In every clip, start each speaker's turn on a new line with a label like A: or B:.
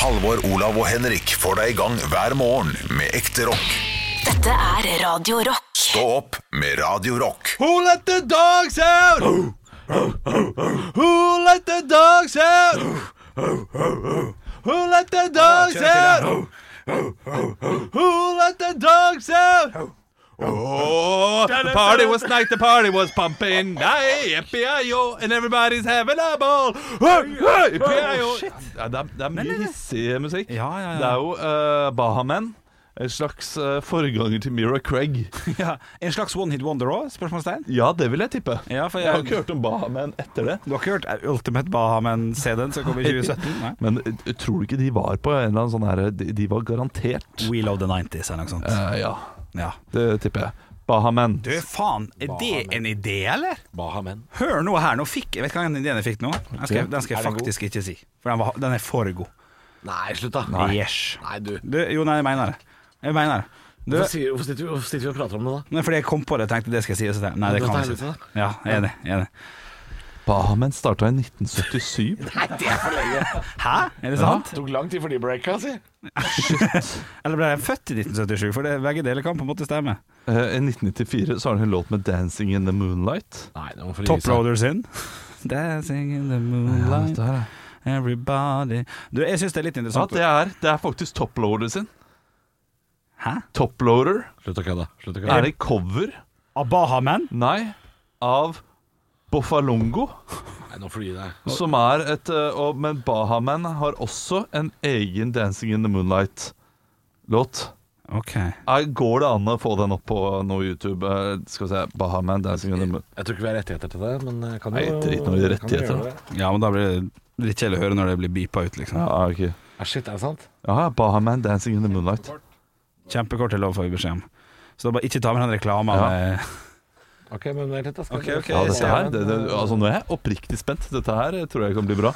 A: Halvor, Olav og Henrik får deg i gang hver morgen med ekte rock.
B: Dette er Radio Rock.
A: Stå opp med Radio Rock.
C: Who let the dogs out? Who let the dogs out? Who let the dogs out? Who let the dogs out? Oh, the party was night, the party was pumping. Aye, yippee-yi-yo, and everybody's having a ball. Hey, hey, yippee-yi-yo. Ja, det, er, det er mye hissig musikk.
D: Ja, ja, ja.
C: Det er jo uh, Bahamen. En slags eh, forganger til Mira Craig.
D: Ja, En slags one hit wonder òg? Spørsmålstegn?
C: Ja, det vil jeg tippe.
D: Ja, for
C: Jeg har
D: jeg-
C: ikke hørt om Bahamen etter det.
D: Du har ikke hørt Ultimate Bahamen-CD-en som kom i 2017? Nei.
C: Men eh, tror du ikke de var på en eller annen sånn her De, de var garantert
D: We Love The 90s eller noe sånt.
C: Eh, Ja,
D: Ja.
C: det tipper jeg. Bahamen.
D: Du, faen, er det en idé, eller?
E: Bahamen.
D: Hør nå her, nå fikk jeg Vet du hva den ideen jeg fikk nå? Den skal, den skal jeg
E: Er den
D: faktisk ikke si. For den, var, den er for god.
E: Nei, slutt, da.
D: Yes.
E: Nei, du.
D: Du, jo, nei, jeg mener det. Jeg mener det. Du,
E: Hvorfor, sier, hvorfor, sitter vi, hvorfor sitter vi og prater om det, da?
D: nei, fordi jeg kom på det, tenkte det skal jeg si. og så tenkte jeg, Nei, det
E: Men
D: kan jeg
E: dette er liksom-
D: ikke. si. Ja, jeg er enig. jeg er enig.
C: Bahamen starta i 1977.
E: Nei, det er for lenge.
D: Hæ? Er det sant?
E: Det tok lang tid for de breaka, si.
D: Eller ble jeg født i 1977? For det, begge deler kan på en måte stemme.
C: Eh, I 1994 så har han en låt med 'Dancing in the Moonlight'.
E: Nei, nå må få gi seg.
D: Toploader sin. Dancing in the moonlight,
C: her er.
D: everybody Du, jeg syns det er
C: Ja,
D: litt interessant.
C: det er, det er faktisk Toploader sin.
D: Hæ?
C: Toploader
E: Slutt å kødde. Slutt å kødde.
C: er det cover,
D: Abahamen?
C: nei, av Bofalongo.
E: Nei, nå får du gi deg.
C: Som er et eh, og, Men Bahaman har også en egen 'Dancing in the Moonlight'-låt.
D: OK.
C: Nei, Går det an å få den opp på noe YouTube? Eh, Skal vi se Bahaman Dancing in the Moon
E: Jeg tror ikke vi har rettigheter til det, men jeg kan
C: Nei,
E: jo
C: drit nå i
E: jeg kan jo
C: rettigheter,
E: gjøre
C: da.
E: det.
D: Ja, men da blir det litt kjedelig å høre når det blir beepa ut, liksom.
C: Ja, ok
E: Ah, shit, er det sant?
C: Ja, Bahaman Dancing in the Moonlight.
D: Kjempekort til lov, får vi beskjed om. Så da bare ikke ta med den eh. reklama.
C: Ja.
D: med-
E: Ok, men vent litt, da. Skal
D: Ok, ok,
C: Ja,
D: jeg
C: dette
D: ser
C: her,
D: den.
C: det, det, altså Nå er jeg oppriktig spent. Dette her tror jeg kan bli bra.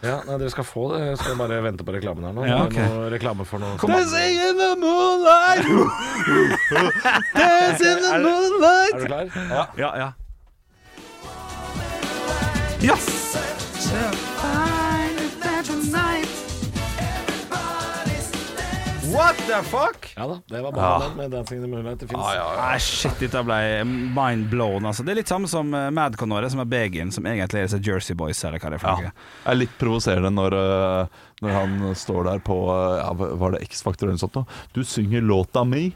E: Ja, nei, dere skal få det. Jeg skal bare vente på reklamen her nå.
D: Ja,
E: Det er
D: ok.
E: noe reklame for noe
C: Dancing in the moonlight Dancing in the moonlight
E: Er du klar? Ja.
D: Ja, ja. Yes! What the fuck?
E: ja da, det var Bahamen med 'Dancing in the Moonlight'. Det fins.
D: Ah, Nei, shit, dette ble mind blown. Altså. Det er litt samme som eh, Madcon-året, som er Begin, som egentlig er disse Jersey Boys, eller hva det er for noe.
C: Det er litt provoserende når, eh, når han står der på eh, ja, Var det X-Factor eller noe sånt? nå? Du synger låta mi.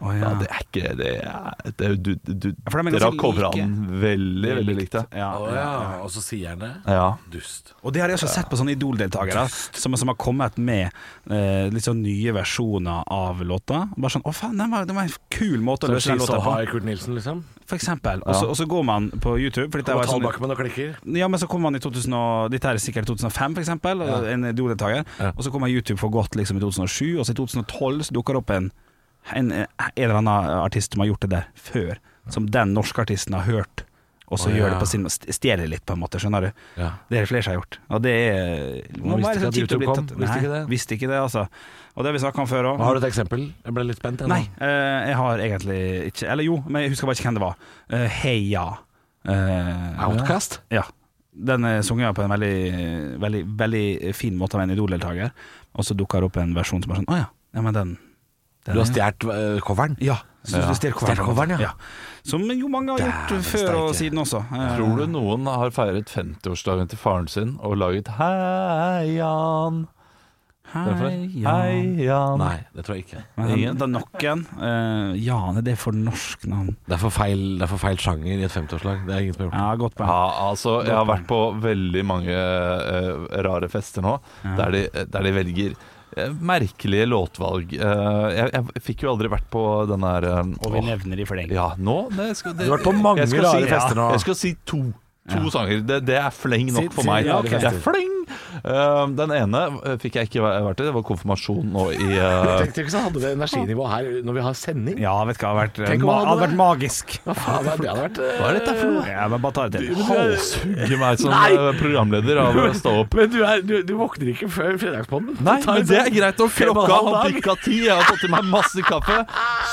D: Å,
C: Ja,
D: ja.
C: det er ikke det, er, det er, du, du,
D: for de er
C: Dere har
D: ganske
C: covra
D: like.
C: den veldig, veldig likt. det.
D: Ja,
E: Å
D: ja.
E: ja. Og så sier han det.
C: Ja.
E: Dust.
D: Og det har jeg også sett på sånne Idol-deltakere som, som har kommet med eh, litt sånn nye versjoner av låta. Bare sånn 'Å, faen, det var, det var en kul måte å løse den
E: She's So
D: låta på',
E: High, Kurt Nilsen, liksom.
D: for eksempel. Og så, og så går man på YouTube. Fordi det
E: Og
D: var sånn,
E: Tallbakkmann og klikker.
D: ja, men så kom man i 2000 og, Dette er sikkert 2005, for eksempel, og en Idol-deltaker.
E: Ja.
D: Og så kommer YouTube for godt liksom i 2007, og så i 2012 så dukker det opp en, en, en eller annen artist som har gjort det der før. Som den norske artisten har hørt, og så
E: Å,
D: gjør
E: ja.
D: det på sin st- Stjeler litt, på en måte. Skjønner du?
E: Ja.
D: Det er det flere som har gjort. Og det er sånn
E: Man visste ikke at YouTube kom, visste ikke det.
D: Visste ikke det, altså. Og det har vi snakka om før òg.
E: Har du et eksempel? Jeg ble litt spent. jeg, nå.
D: Nei, eh, jeg har egentlig ikke Eller jo, men jeg husker bare ikke hvem det var. Eh, Heia. Eh,
E: Outcast?
D: Ja. Den eh, sunget jeg på en veldig, veldig, veldig fin måte av en Idol-deltaker, og så dukker det opp en versjon som er sånn Å ja, ja men den, den
E: Du har
D: er-
E: stjålet eh, coveren?
D: Ja. Så du stjeler coveren,
E: Stjeler coveren, ja.
D: Som jo mange har gjort
E: Dæven
D: før og
E: steike.
D: siden også. Eh,
C: Tror du noen har feiret 50-årsdagen til faren sin og laget 'Hei, Jan'?
D: Hei, ja.
C: Hei, Jan.
E: Nei, det tror jeg ikke.
D: Men den, den nok en. Eh, Jan, er det for norsk navn?
E: Det er for feil, det er for feil sjanger i et 50-årslag. Det er ingen som har gjort det.
D: Ja, godt poeng.
C: Ja, altså, jeg har vært på veldig mange eh, rare fester nå, der, de, der de velger eh, merkelige låtvalg. Eh, jeg, jeg fikk jo aldri vært på den der eh,
D: Og vi
C: åh,
D: nevner i fleng.
C: Ja, nå det skal, det,
E: Du har vært på mange
C: jeg skal
E: rare
C: ja,
E: fester nå.
C: Jeg skal si to. To sanger. Det, det er fleng nok
E: Si-
C: for
E: si
C: meg.
E: rare
C: Det er
E: fester.
C: fleng! Eh, den ene eh, fikk jeg ikke væ- vært i. Det var konfirmasjon nå i eh,
E: Tenk ikke så hadde det energinivået her når vi har sending.
D: Ja, vet du hva, det hadde vært,
E: Tenk om
D: ma
E: han
D: hadde
E: hadde-
D: vært magisk.
E: Hva faen, det hadde vært eh,
C: Hva er dette for noe?
D: Ja, men bare ta det til.
C: Halshugge meg som
E: Nei!
C: eh, programleder av å stå opp.
E: Men du, er, du, du våkner ikke før fredagspodden.
C: Nei,
E: Du tar
C: men
E: en
C: det
E: sånn
C: er greit. Og
E: fem og en
C: klokka
E: halv
C: har
E: dag.
C: bikka ti. Jeg har fått i meg masse kaffe.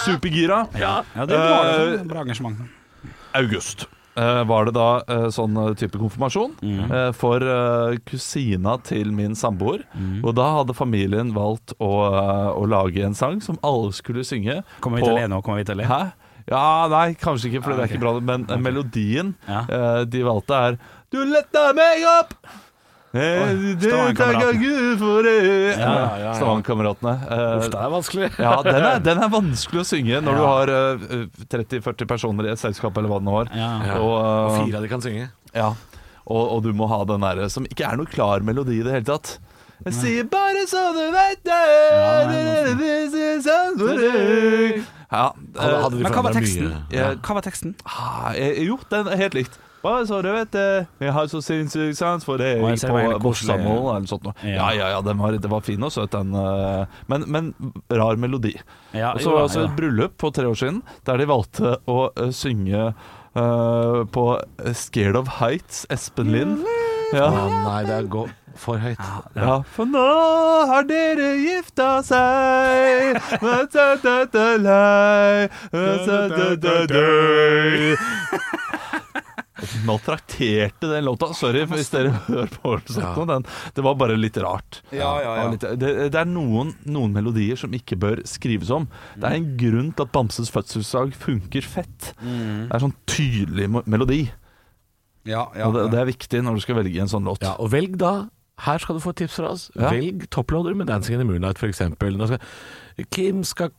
C: Supergira.
D: sånn, Eh, Ja, det er bra, det er bra engasjement.
C: August. eh, var det da eh, sånn eh, type konfirmasjon
D: Mm.
C: eh, for eh, kusina til min samboer.
D: Mm.
C: Og da hadde familien valgt å, eh, å lage en sang som alle skulle synge.
D: Kommer vi til å le nå? Kommer vi til å le?
C: Hæ? Ja, nei, kanskje ikke, for det er ikke bra. Men eh, melodien
D: Ah, Ja.
C: eh, de valgte, er Du letta meg opp! Eh,
D: Oi,
C: det takker
D: Stavangerkameratene.
C: Gud for det
D: Ja, ja, ja, ja.
C: Stavangerkameratene. Eh,
E: Uff, det er vanskelig.
C: ja, den er, den er vanskelig å synge når du har eh, 30-40 personer i et selskap eller hva det nå var.
D: Ja.
E: Ja.
C: Og,
E: Og
C: eh,
E: fire av de kan synge.
C: ja. og, og du må ha den derre som ikke er noe klar melodi i det hele tatt. Jeg sier bare så du vet det
D: nei,
C: This is something for you. Ja,
E: Hadde,
C: eh,
E: hadde de
D: Men hva var
E: forandret
D: teksten?
E: mye?
C: Ja.
D: Hva var teksten?
C: ah, eh, Jo, den er helt likt. Bare så du vet det, jeg har så sinnssyk sans for det
D: Og jeg ser det var
C: på
D: veldig koselig.
C: Bossamål eller noe sånt. noe. Ja,
D: Ja.
C: ja, ja, den var, den var fin og søt, den. eh, Men, men rar melodi.
D: Ja,
C: Og så var
D: jo da,
C: det også
D: jo
C: et
D: da.
C: bryllup på tre år siden der de valgte å eh, synge eh, på Scared of Heights, Espen Lind. Ja.
E: Å nei, det er gå for høyt.
C: ja. For nå har dere gifta seg, men så død og lei, men så død og døy. Maltrakterte den låta. Sorry hvis dere hører på den. sånn, den. Det var bare litt rart. Det var litt- Det, det er noen, noen melodier som ikke bør skrives om. Det er en grunn til at Bamses fødselsdag funker fett. Det er sånn tydelig mo- melodi,
D: Ja, ja,
C: og det,
D: ja.
C: det er viktig når du skal velge en sånn låt.
E: Ja, og velg da her skal du få et tips fra oss.
C: Ja.
E: Velg topploader med 'Dancing in the Moonlight', f.eks. Skal... Kim skal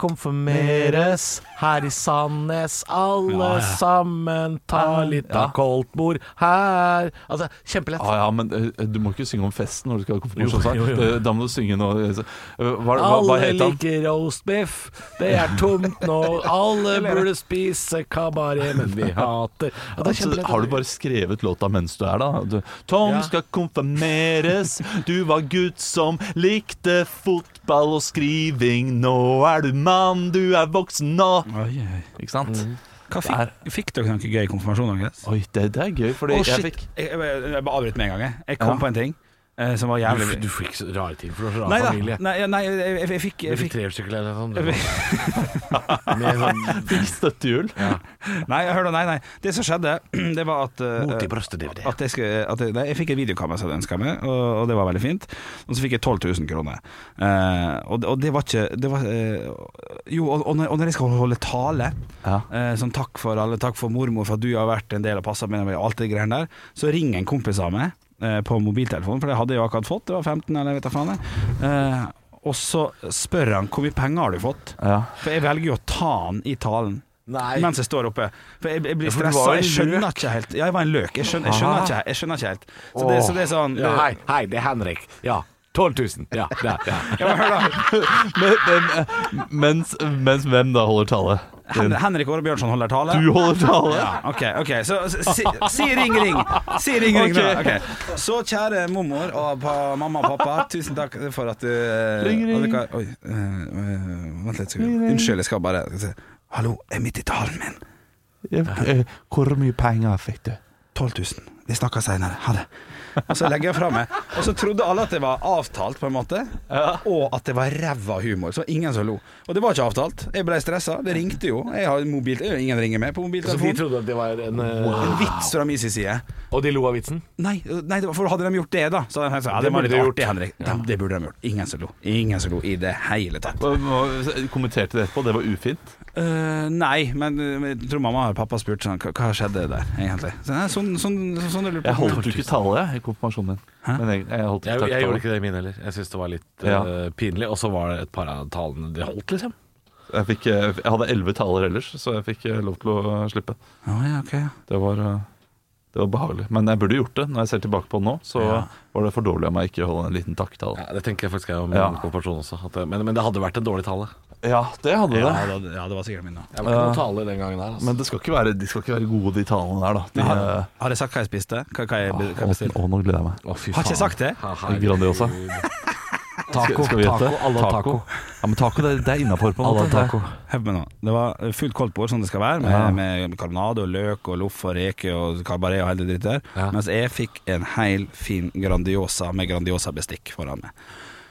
E: konfirmeres her i Sandnes. Alle
D: Ja, ja.
E: sammen ta litt av
C: Ja.
E: koldtbord her Altså, kjempelett.
C: Ah, ja, men eh, du må ikke synge om festen når du skal ha
E: Jo, jo, jo.
C: konfirmasjonssang. Det- Da må du synge noe eh, så- eh, Hva, hva, hva
E: Alle
C: het han?
E: liker roastbiff, det er tomt nå. Alle burde spise kabaret, men vi hater ja, det er
C: Altså,
E: kjempelett.
C: har du bare skrevet låta mens du er da? Du, Tom
E: Ja.
C: skal konfirmeres, du var gutt som likte fotball og skriving. Nå er du mann, du er voksen nå.
D: Oi, oi.
C: Ikke sant?
E: Mhm.
D: Hva fikk, fikk dere noen gøy konfirmasjon? Agnes?
C: Oi, det, det er gøy, fordi jeg
D: Å, shit.
C: fikk
D: Jeg, jeg, jeg, jeg bare avbryter med en gang. Jeg, jeg kom
C: Ja.
D: på en ting eh, som var
E: Du,
D: jævlig
E: f- du fikk så rare ting, for du har så rar
D: Nei da.
E: familie.
D: Nei, nei jeg, jeg, jeg, fikk,
E: Du
D: jeg
E: fikk
D: fikk
E: trehjulssykkel eller noe sånt. sånn. Med sånn
C: støttehjul.
D: Nei, hør da, nei, nei. Det som skjedde, det var at eh,
E: mot i brøstet-DVD.
D: at jeg, skulle, at jeg, nei, jeg fikk et videokamera som jeg ønska meg, og, og det var veldig fint. Og så fikk jeg 12 000 kroner. Eh, og, og det var ikke det var, eh, Jo, og, og, når, og når jeg skal holde tale,
C: Ja.
D: eh, sånn takk for alle, takk for mormor for at du har vært en del og passa med meg, og alt det greiene der, så ringer en kompis av meg eh, på mobiltelefonen, for det hadde jeg jo akkurat fått, det var 15 eller jeg vet da faen. jeg. Eh, og så spør han hvor mye penger har du fått?
C: Ja.
D: For jeg velger jo å ta han i talen.
E: Nei.
D: Mens jeg står oppe. For jeg, jeg blir
C: Ja, for du
D: stressa.
C: var en
D: Jeg skjønner
C: løk.
D: ikke helt. Ja, jeg var en løk. Jeg skjønner, jeg skjønner, ikke, jeg skjønner ikke helt. Så det, så det er sånn
E: Ja, hei, hei, det er Henrik. Ja, 12 000. Ja, ja, ja.
D: Ja, men hør da.
C: Men, men, eh, mens, mens hvem da holder tale?
D: Hen Henrik Åre Bjørnson holder tale.
C: Du holder tale?
D: ja, OK. ok Så si, si ring, ring. Si ring, ring. da.
C: Ok.
D: Ok. Så kjære mormor og pa, mamma og pappa, tusen takk for at du eh,
C: Ring, ring.
D: at dere- Oi, eh, eh, vent litt. sekund. Unnskyld, jeg skal bare skal se. Hallo, jeg er midt i talen min.
C: Eh, Hvor mye penger fikk du?
D: 12 000. Vi snakkes seinere. Ha det. Og så legger jeg fra meg. Og så trodde alle at det var avtalt, på en måte. Og at det var ræva humor. Så ingen som lo. Og det var ikke avtalt. Jeg ble stressa. Det ringte jo. Jeg har mobil, det er jo ingen ringer med på
E: Så de
D: mobiltelefonen.
E: trodde at det var en eh,
D: En vits fra min side.
E: Og de lo av vitsen?
D: Nei, nei, det var- for hadde de gjort det, da Så hadde de sagt, ja,
E: Det
D: det var
E: burde
D: litt
E: de gjort.
D: artig, Henrik. De, det burde de gjort. Ingen som lo. Ingen som lo i det hele tatt.
C: Kommenterte det etterpå, det var ufint.
D: Øh, nei, men øh, jeg tror mamma og pappa spurte sånn Hva hva skjedde der, egentlig? Så, nei, sånn, sånn, sånn, sånn jeg lurer på.
C: Jeg holdt jo ikke tale jeg, i konfirmasjonen din. Men jeg, jeg holdt
E: Jeg,
C: ikke
E: jeg gjorde
C: tale.
E: ikke det i min heller. Jeg syntes det var litt
C: Ja.
E: eh, pinlig. Og så var det et par av talene det holdt, liksom.
C: Jeg, fikk, eh, jeg hadde elleve taler ellers, så jeg fikk eh, lov til å eh, slippe.
D: Å, ja, ok, ja.
C: Det var, eh, det var behagelig. Men jeg burde gjort det. Når jeg ser tilbake på det nå, så var det for dårlig av meg ikke å holde en liten takktale.
E: Ja, det tenker jeg faktisk jeg om
C: Ja.
E: min konfirmasjon også. At, det- men, men det hadde vært en dårlig tale.
C: Ja, det hadde det.
D: Ja, det, ja, det var sikkert min, da.
E: Jeg var ikke noen taler den gangen der. Altså.
C: Men det skal ikke være, de skal ikke være gode, de talene der, da. De,
D: har,
C: eh,
D: har jeg sagt hva jeg spiste? Hva, hva jeg, hva jeg
C: å,
D: bestilte?
C: å, nå gleder jeg meg.
E: Å, fy
D: Har ikke jeg
E: Ah, faen.
D: sagt det?
E: Ha- ha-
C: Grandiosa.
E: Taco.
C: Skal vi gjette?
E: taco, alle har taco.
C: Ja, men taco, det, det er innafor på en
E: Alle har
C: måte.
E: taco.
D: Hør på meg nå. Det var fullt koldtbord, som sånn det skal være, med,
C: Ja.
D: med karbonade og løk og loff og reke og kabaret og hele det dritt der.
E: Ja.
D: Mens jeg fikk en heil fin Grandiosa med Grandiosa-bestikk foran meg.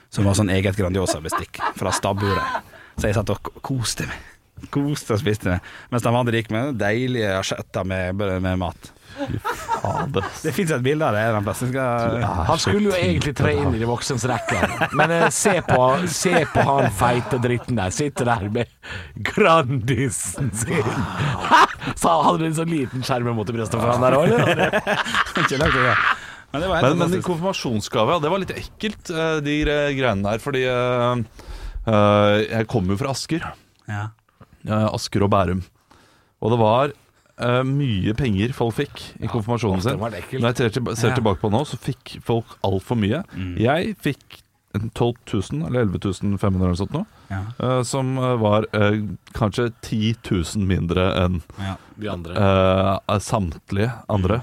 D: Som var sånn eget Grandiosa-bestikk fra stabburet. Så jeg satt og k- koste meg. Koste og spiste meg. Mens de andre gikk med deilige asjetter med, med mat.
C: Fader.
D: Det fins et bilde av det en eller annen plass. Jeg Skal...
E: Han skulle jo egentlig tre inn i de voksnes rekker, men eh, se på, se på han feite dritten der. Sitter der med Grandisen sin. Hæ? Så han hadde en sånn liten skjerm mot i brystet for han der òg, eller?
D: Ikke langt unna. Men det var helt
C: Men, men
D: fantastisk.
C: konfirmasjonsgave, ja, det var litt ekkelt, eh, de gre- greiene der. Fordi eh, eh, jeg kommer jo fra Asker.
D: Ja.
C: eh, Asker og Bærum. Og det var eh, mye penger folk fikk i konfirmasjonen
E: det
C: sin.
E: var det ekkelt.
C: Når jeg ser, tilba ser
D: Ja.
C: tilbake på nå, så fikk folk altfor mye.
D: Mm.
E: Mm.
C: Jeg fikk en 12 000 eller 11 500 eller sånt noe,
D: Ja.
C: eh, som eh, var eh, kanskje 10 000 mindre enn
D: Ja.
E: De andre.
C: eh, samtlige
E: Mm.
C: andre.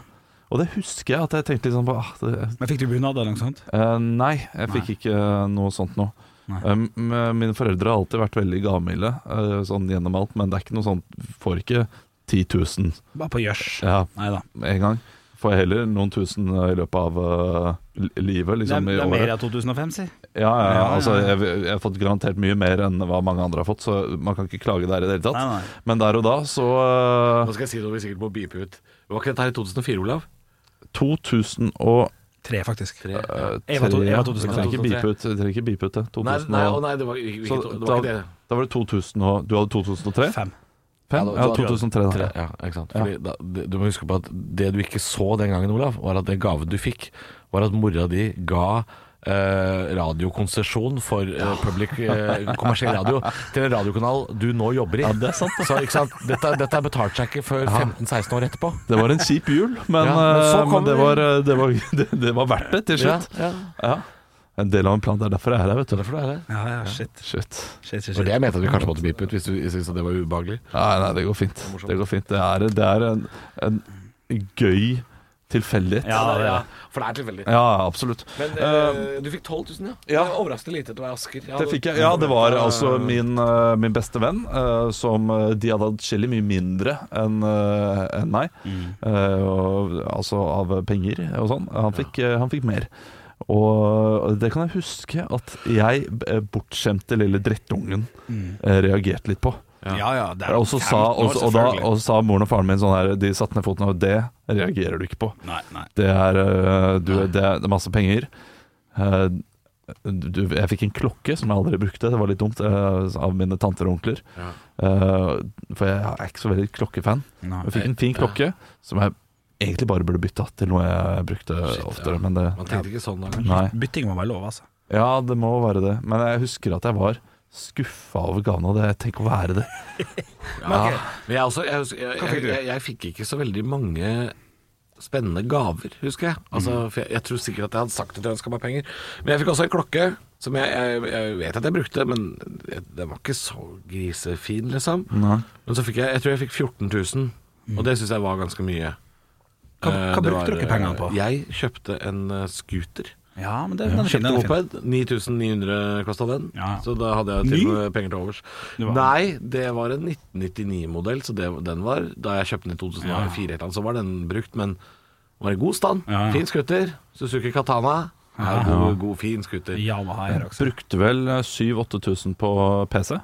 C: Og det husker jeg at jeg tenkte liksom på ah, det,
D: Men fikk du bunad eller noe sånt?
C: Eh, nei, jeg fikk ikke eh, noe sånt nå.
D: Nei.
C: Um, men mine foreldre har alltid vært veldig gavmilde eh, sånn gjennom alt, men det er ikke noe sånt Får ikke 10 000
D: Bare på gjørs.
C: ja,
D: Nei da.
C: en gang. Får jeg heller noen tusen eh, i løpet av eh, li- livet,
D: Det er,
C: liksom.
D: det er
C: i
D: mer
C: året.
D: av 2005, si.
C: Ja, ja, ja,
D: Ja, ja,
C: altså,
D: ja.
C: jeg, jeg har fått garantert mye mer enn hva mange andre har fått, så man kan ikke klage der i det hele tatt.
D: Nei, nei.
C: Men der og da, så eh,
E: Nå skal jeg si noe vi sikkert må beepe ut. Var ikke dette her i 2004, Olav?
C: 2000 og eh,
D: Tre, faktisk.
E: Tre?
D: Jeg var to- jeg var
C: tre- Jeg
D: 2003.
C: trenger ikke beepe ut- jeg trenger ikke beepe ut det.
E: Nei,
C: 2000
E: nei,
C: og-
E: å nei, det var ikke,
C: Så
E: det
C: da,
E: var ikke det.
C: da var det 2000 og Du hadde 2003?
D: Fem.
C: Fem?
E: da-
C: Ja,
E: da-
C: 2003 da.
E: Tre, ja, ikke sant? Fordi da, det- du må huske på at det du ikke så den gangen, Olav, var at den gaven du fikk, var at mora di ga eh, radiokonsesjon for eh, public, eh, kommersiell radio til en radiokanal du nå jobber i.
C: altså.
E: Så ikke sant? Dette, dette betalte seg ikke før 15-16 år etterpå.
C: Det var en kjip jul, men,
E: Ja, men så
C: eh, men
E: kommer-
C: det, var, eh, det, var, det, det var verdt det til slutt.
E: Ja, ja.
C: Ja. En del av en plan. Det er derfor jeg er her, vet du.
E: Derfor det er det.
D: Ja, ja, shit.
C: Shit.
D: shit, shit,
E: Det var
D: shit.
E: det jeg mente at vi kanskje måtte bipe ut, hvis du syntes at det var ubehagelig.
C: Nei, nei, det går fint. Det går fint. Det er, det er en, en gøy tilfeldighet.
D: Ja, det er det.
E: For det er tilfeldig.
C: Ja, absolutt.
E: Men
C: eh,
E: du fikk 12 000, ja?
C: ja.
E: Overraskende lite til å være Asker.
C: Det fikk jeg. Ja, det var altså min, eh, min beste venn, eh, som eh, de hadde adskillig mye mindre enn eh, enn meg. Eh, og, altså av penger og sånn. Han fikk, eh, han fikk mer. Og det kan jeg huske at jeg, eh, bortskjemte lille drittungen, eh, reagerte litt på.
D: Mm. Ja, ja. Det
C: Og så sa,
D: femten år,
C: og, og da,
D: selvfølgelig.
C: og sa moren og faren min sånn her De satte ned foten, og det reagerer du ikke på.
D: Nei, nei.
C: Det er, øh, du,
E: Ah.
C: det er det er masse penger. Eh, Du, jeg fikk en klokke som jeg aldri brukte. Det var litt dumt eh, av mine tanter og onkler. Eh, For jeg er ikke så veldig klokkefan.
D: Nei.
C: Jeg fikk en fin klokke som jeg egentlig bare burde bytta til noe jeg brukte oftere. Men det,
E: Man tenkte ikke sånn da, kanskje.
C: nei.
D: Bytting må være lov, altså.
C: Ja, det må være det. Men jeg husker at jeg var skuffa over gaven, og det tenk å være det.
E: Ja. Men jeg, også, jeg, husker- jeg, jeg, jeg, jeg fikk ikke så veldig mange spennende gaver, husker jeg. Altså,
C: Mm.
E: for jeg. Jeg tror sikkert at jeg hadde sagt at jeg ønska meg penger. Men jeg fikk også en klokke som jeg, jeg, jeg vet at jeg brukte, men jeg- den var ikke så grisefin, liksom. Men så fikk jeg Jeg tror jeg fikk 14 000,
C: Mm.
E: og det syns jeg var ganske mye.
D: Hva,
E: Eh,
D: hva brukte
E: det var- eh,
D: dere pengene på?
E: Jeg kjøpte en eh, scooter.
D: Ja, men det, den er fin.
E: Kjøpte
D: Den er fin.
E: moped. 9900 kosta den.
D: Ja.
E: Så da hadde jeg til
D: Ny?
E: og med penger til overs.
D: Det var-
E: Nei, det var en 1999-modell, så det, den var Da jeg kjøpte den i 2004, eller annet, så var den brukt, men den var i god stand.
D: Ja, ja.
E: Fin skuter. Suzuki Katana. Ja, God, god, fin skuter.
D: Yamaha her også.
C: Brukte vel 7000-8000 på PC.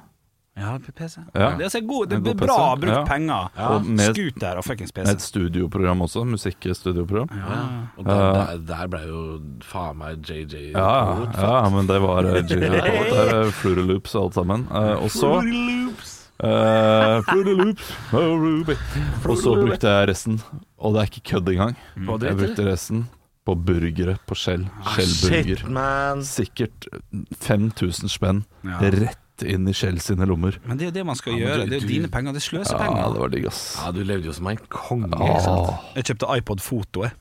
D: Ja, PC.
C: Ja.
D: Det er, så god, det
C: En god
D: er bra
C: PC.
D: brukt
C: Ja.
D: penger.
C: Og med-
D: Scooter og fuckings PC.
C: Med et studioprogram også. Musikkstudioprogram.
E: Ja. Og der, der, der ble jo faen meg JJ
C: Ja,
E: godt,
C: ja, ja, men det var eh, Jill Report. Det er Flurry Loops og alt sammen. Eh, Og så eh, Flurry Loops, oh, Ruby. Og så brukte jeg resten, og det er ikke kødd engang. Jeg brukte resten på burgere på Skjell. Skjell-burger.
E: Ah, Shit, man.
C: Sikkert 5000 spenn
D: Ja.
C: rett inn i Skjell sine lommer.
D: Men det er jo det man skal
E: men
D: gjøre.
E: du-
D: Det er jo
E: du-
D: dine penger. Det er
C: Ja,
D: sløsepenger.
C: det var digg, ass.
E: Ja, du levde jo som en konge. ikke sant?
C: Ah,
D: Jeg kjøpte iPod Foto, jeg.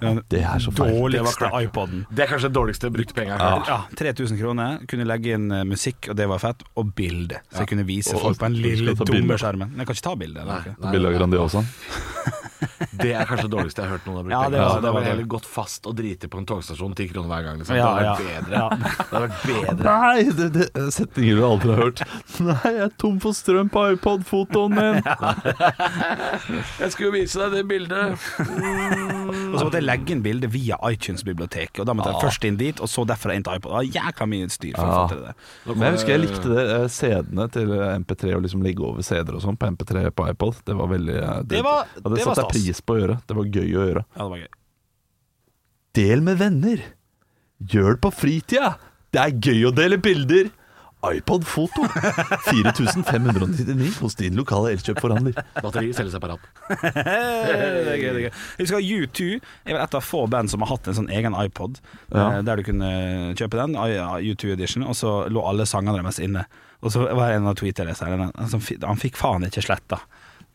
D: Den
C: det er så feil.
D: dårligste iPoden.
E: Det er kanskje det dårligste brukte penger jeg har hørt.
D: Ja, 3000 kroner. Kunne legge inn eh, musikk, og det var fett, og bilde. Så jeg kunne vise
C: Og-
D: folk på den
C: du
D: lille,
C: skal ta
D: dumme
C: bilder.
D: skjermen. Men jeg kan ikke ta bilde. eller
E: Nei,
D: noe.
E: nei,
C: Billig
E: nei.
C: av Grandiosaen.
E: Det er kanskje det dårligste jeg har hørt noen har brukt.
D: Ja, det
E: penger på.
D: var-
E: Så
D: det var
E: da ville jeg
D: det.
E: heller gått fast og driti på en togstasjon ti kroner hver gang. Liksom.
D: Ja,
E: det
D: ja.
E: hadde vært bedre. Det hadde vært bedre.
C: Nei, det, det er setninger du aldri har hørt. Nei, jeg er tom for strøm på iPod-fotoen min.
E: Jeg skulle vise deg det bildet.
D: Og Og så måtte jeg legge inn bilde via iTunes-biblioteket. Og da
C: Ah.
D: måtte jeg først inn dit, og så derfra inn til iPod. Det var jækla mye styr for å
C: Ja.
D: få til det.
C: Men jeg husker jeg likte det eh, CD-ene til eh, MP3 å liksom ligge over CD-er og sånn på MP3 på iPod. Det var veldig eh,
D: Det var-
C: hadde
D: det var
C: satt jeg
D: stas.
C: pris på å gjøre. Det var gøy å gjøre.
D: Ja, det var gøy.
C: Del med venner. Gjør det på fritida. Det er gøy å dele bilder. iPod Foto 4599 hos din lokale elkjøpforhandler.
E: Batteri selges separat.
D: det er gøy, det er gøy. Jeg husker U2 er vel et av få band som har hatt en sånn egen iPod,
C: Ja.
D: eh, der du kunne kjøpe den, I- I- U2 Edition, og så lå alle sangene deres inne. Og så var det en av tweeterne her, han, som fi- han fikk faen ikke sletta.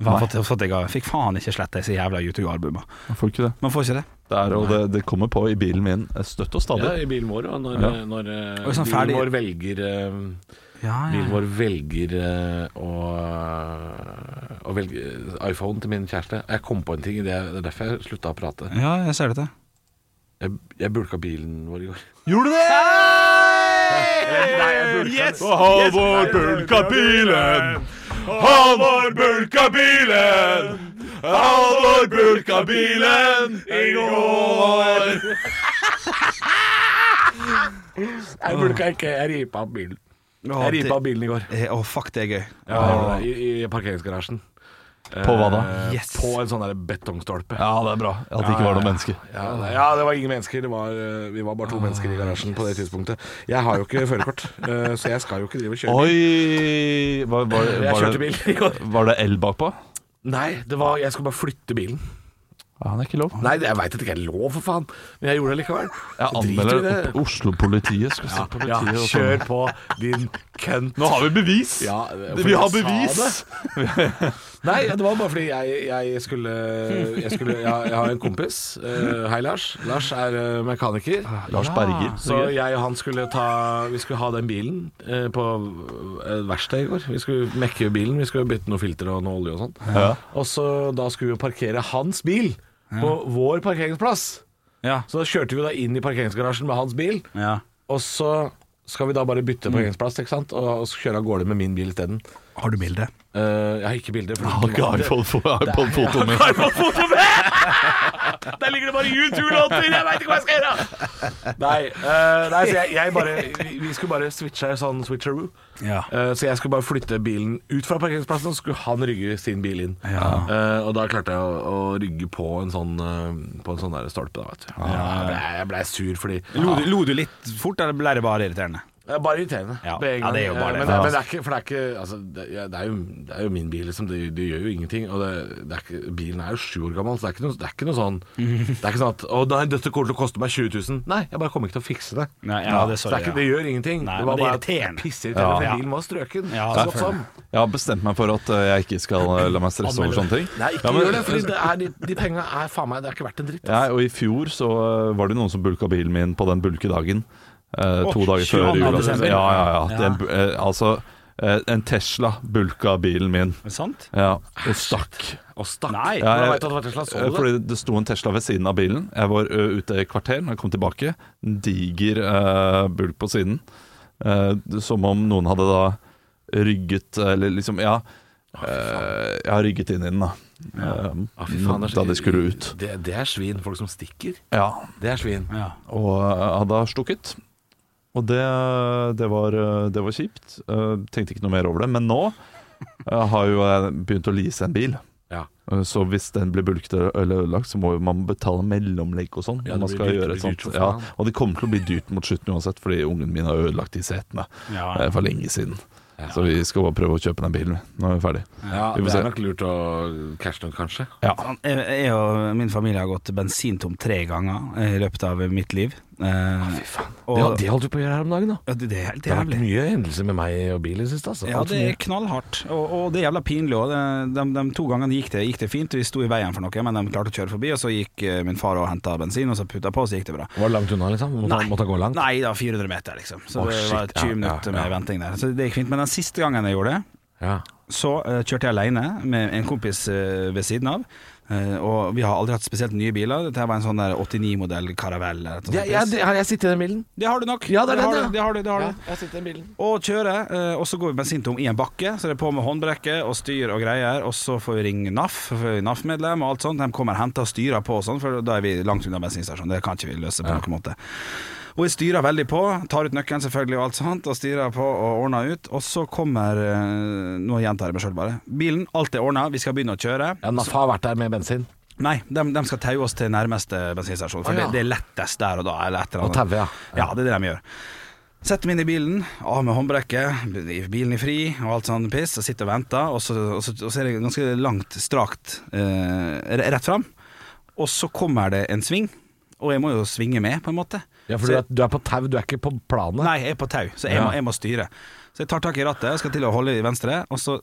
D: Han fått, fått jeg, av- fikk faen ikke sletta disse jævla U2-albuma.
C: Jeg får ikke det.
D: Man får ikke det.
C: Det, er, og det, det kommer på i bilen min Eh, støtt og
E: Ja,
C: stadig.
E: i bilen vår, og når,
C: Ja.
E: når eh,
D: Og sånn
E: bilen
D: ferdig-
E: vår velger eh,
D: Ja,
E: Bilen vår velger eh, å, eh, å velge iPhone til min kjæreste. Jeg kom på en ting, det er det er derfor jeg slutta å prate.
D: ja jeg ser det til.
E: Jeg, jeg bulka bilen vår i går.
C: Gjorde du det?
E: Nei, jeg
C: Halvor
E: bulka den.
C: bulka bilen. Halvor bulka bilen. Halvor bulka bilen i går.
E: Jeg bulka ikke, jeg ripa opp bilen.
D: Å,
E: Jeg
D: det-
E: ripa opp bilen i går.
D: Eh, Å, fuck, det er gøy.
E: I, I parkeringsgarasjen.
C: På hva da?
E: Eh,
D: Yes.
E: På en sånn der betongstolpe.
C: Ja, det er bra at det ikke var noe menneske.
E: Ja, det- ja, det var ingen mennesker. Det var, eh, vi var bare
C: Ah,
E: to mennesker i garasjen på det tidspunktet. Jeg har jo ikke førerkort, eh, så jeg skal jo ikke drive og kjøre bil.
C: Oi var, var,
E: Jeg
C: var,
E: kjørte
C: det,
E: bil i går.
C: var det el bakpå?
E: Nei, det var, jeg skulle bare flytte bilen.
C: Ja, han er ikke lov.
E: Nei, det- jeg veit at det ikke er lov, for faen, men jeg gjorde det likevel.
C: Jeg
E: Så driter
C: anmelder
E: vi i det.
C: Oslo-politiet. Skal
E: Ja,
C: se på politiet
E: ja,
C: og
E: kjør
C: sånn.
E: på, din kønt.
C: Nå har vi bevis!
E: Ja, det- for
C: vi har
E: jeg sa
C: bevis!
E: Nei, det var bare fordi jeg, jeg skulle, jeg, skulle jeg, jeg har en kompis. eh, hei, Lars. Lars er eh, mekaniker.
C: Lars Berger.
E: Så jeg og han skulle ta Vi skulle ha den bilen eh, på et verksted i går. Vi skulle mekke bilen, vi skulle bytte noe filter og noe olje og sånn.
C: Ja.
E: Og så da skulle vi parkere hans bil på vår parkeringsplass.
D: Ja.
E: Så da kjørte vi da inn i parkeringsgarasjen med hans bil,
D: ja.
E: og så skal vi da bare bytte parkeringsplass, ikke sant? Og, og så kjøre av gårde med min bil isteden.
D: Har du bilde?
E: Uh, jeg har ikke bilder.
D: Ah,
E: for-
C: Har ikke iPod-foto med.
E: Der ligger det bare U2-låter! Jeg veit ikke hva jeg skal gjøre! Nei, eh, nei så jeg, jeg bare vi- Vi skulle bare switche sånn switcheroo.
D: Ja.
E: Eh, så jeg skulle bare flytte bilen ut fra parkeringsplassen, og så skulle han rygge sin bil inn. Eh, og da klarte jeg å, å rygge på en sånn eh, På en sånn der stolpe, da, vet du. Ja, jeg blei jeg ble sur fordi
D: Ah. Lo, du- lo du litt fort, eller ble det bare irriterende?
E: det er Bare irriterende.
D: Ja.
E: på en
D: Ja, det er jo
E: gang.
D: bare det.
E: Men, men det er ikke, for det er ikke altså, det, ja, det, er jo, det er jo min bil, liksom. Det, det gjør jo ingenting. Og det, det er ikke, bilen er jo sju år gammel, så det er ikke noe, det er ikke noe sånn Det er ikke sånn at 'Å nei, dette kommer til å koste meg 20 000'. Nei, jeg bare kommer ikke til å fikse det.
D: Nei, ja, det er
E: så
D: sorry,
E: det, er
D: ja.
E: ikke, det gjør ingenting.
D: Nei,
E: det var
D: men det er
E: bare at
D: irriterende.
E: pisseirriterende,
D: Ja.
E: for bilen var strøken.
D: Ja,
E: så godt sånn.
D: selvfølgelig.
E: som.
C: Jeg har bestemt meg for at eh, jeg ikke skal eh, la meg stresse over sånne ting.
E: Nei, ikke
C: Ja, men-
E: gjør det, for det er, de, de penga er faen meg Det er ikke verdt en dritt.
C: Ja, og i fjor så eh, var det noen som bulka bilen min på den bulkedagen. eh, to
D: Åh,
C: dager før
D: 22.
C: jula.
D: desember.
C: Ja, ja, ja.
D: Ja.
C: Den, bu- eh, altså, eh, en Tesla bulka bilen min.
D: Sant?
C: Ja, og stakk.
E: Og stakk.
D: Nei.
E: Ja,
C: Ja,
E: jeg,
C: jeg-
E: vet at det var Tesla, så
C: Eh,
E: du det?
C: Fordi det sto en Tesla ved siden av bilen. Jeg var ø, ute i kvarter når jeg kom tilbake. En diger eh, bulk på siden. Eh, det- som om noen hadde da rygget Eller liksom, ja. eh, jeg har rygget inn i den, da.
E: Å,
C: Eh,
E: fy faen, det er så-
C: da de skulle ut.
E: Det, det er svin. Folk som stikker.
C: Ja,
E: Det er svin.
D: Ja.
C: og eh, hadde da stukket. Og det, det, var, eh, det var kjipt. Eh, Tenkte ikke noe mer over det. Men nå eh, har jo jeg begynt å lease en bil.
E: Ja.
C: Eh, Så hvis den blir bulket eller ødelagt, så må jo man betale mellomlegg og sånn.
E: Ja,
C: når man
E: det
C: skal
E: blir dyrt,
C: gjøre
E: det blir
C: et sånt.
E: dyrt for
C: Ja,
E: faen.
C: og det kommer til å bli dyrt mot slutten uansett, fordi ungen min har ødelagt de setene
D: Ja.
C: eh, for lenge siden. Så vi skal bare prøve å kjøpe den bilen. Nå er vi ferdig.
E: Ja,
C: Vi får
E: det
C: se.
E: er nok lurt å cashe noen, kanskje.
C: Ja.
D: Han- Sånn, Jeg, jeg og min familie har gått bensintom tre ganger eh, i løpet av mitt liv. Eh, og,
E: Ja, det holdt du på å gjøre her om dagen, da.
D: ja, det, det er helt
E: Det har vært
D: jævlig.
E: mye hendelser med meg og bil i det siste, altså.
D: Ja,
E: Alt
D: det
E: for
D: er
E: mye.
D: knallhardt, og, og det er jævla pinlig òg. De, de, de to gangene gikk det, gikk det fint, vi sto i veien for noe, men de klarte å kjøre forbi, og så gikk eh, min far og henta bensin, og så putta på, og så gikk det bra.
E: Var det langt unna, liksom? Måtte, måtte jeg gå langt?
D: Nei, det var 400 meter, liksom. Så
E: Å,
D: det
E: shit,
D: var 20
E: ja, ja,
D: minutter
E: ja.
D: med venting der. Så det gikk fint. Men den siste gangen jeg gjorde det,
E: Ja.
D: så eh, kjørte jeg alene med en kompis eh, ved siden av. Eh, og vi har aldri hatt spesielt nye biler. Dette her var en sånn 89-modell Caravelle. eller et sånt
E: Jeg, jeg, har jeg sittet i den bilen?
D: det har du nok.
E: Ja, det er
D: har
E: den,
D: du, det har du, det har
E: Ja,
D: du.
E: jeg har sittet i den bilen.
D: Og kjøre, eh, og så går vi bensintom i en bakke, så det er på med håndbrekket og styr og greier. Og så får vi ringe NAF, for vi er NAF-medlem og alt sånt. De kommer og henter og styrer på og sånn, for da er vi langt unna bensinstasjonen. Det kan ikke vi løse på noen måte. Og jeg styrer veldig på, tar ut nøkkelen selvfølgelig og alt sånt, og styrer på og ordner ut. Og så kommer eh, Nå gjentar jeg meg sjøl, bare. Bilen, alt er ordna, vi skal begynne å kjøre.
E: Ja, NAF har vært der med bensin.
D: Nei, de, de skal taue oss til nærmeste bensinstasjon, for
E: Å, ja.
D: det, det er lettest der og da. Eller et eller
E: Og
D: annet.
E: taue, ja.
D: Ja, det er det de gjør. Setter meg inn i bilen, av med håndbrekket, bilen i fri og alt sånn piss, og sitter og venter, og så, og så, og så er det ganske langt, strakt eh, re- rett fram. Og så kommer det en sving, og jeg må jo svinge med, på en måte.
E: Ja, for
D: Så
E: du
D: jeg-
E: er, du er på tau, du er ikke på planet.
D: Nei, jeg er på tau, så jeg,
E: Ja.
D: må, jeg må styre. Så jeg tar tak i rattet, skal til å holde i venstre, og så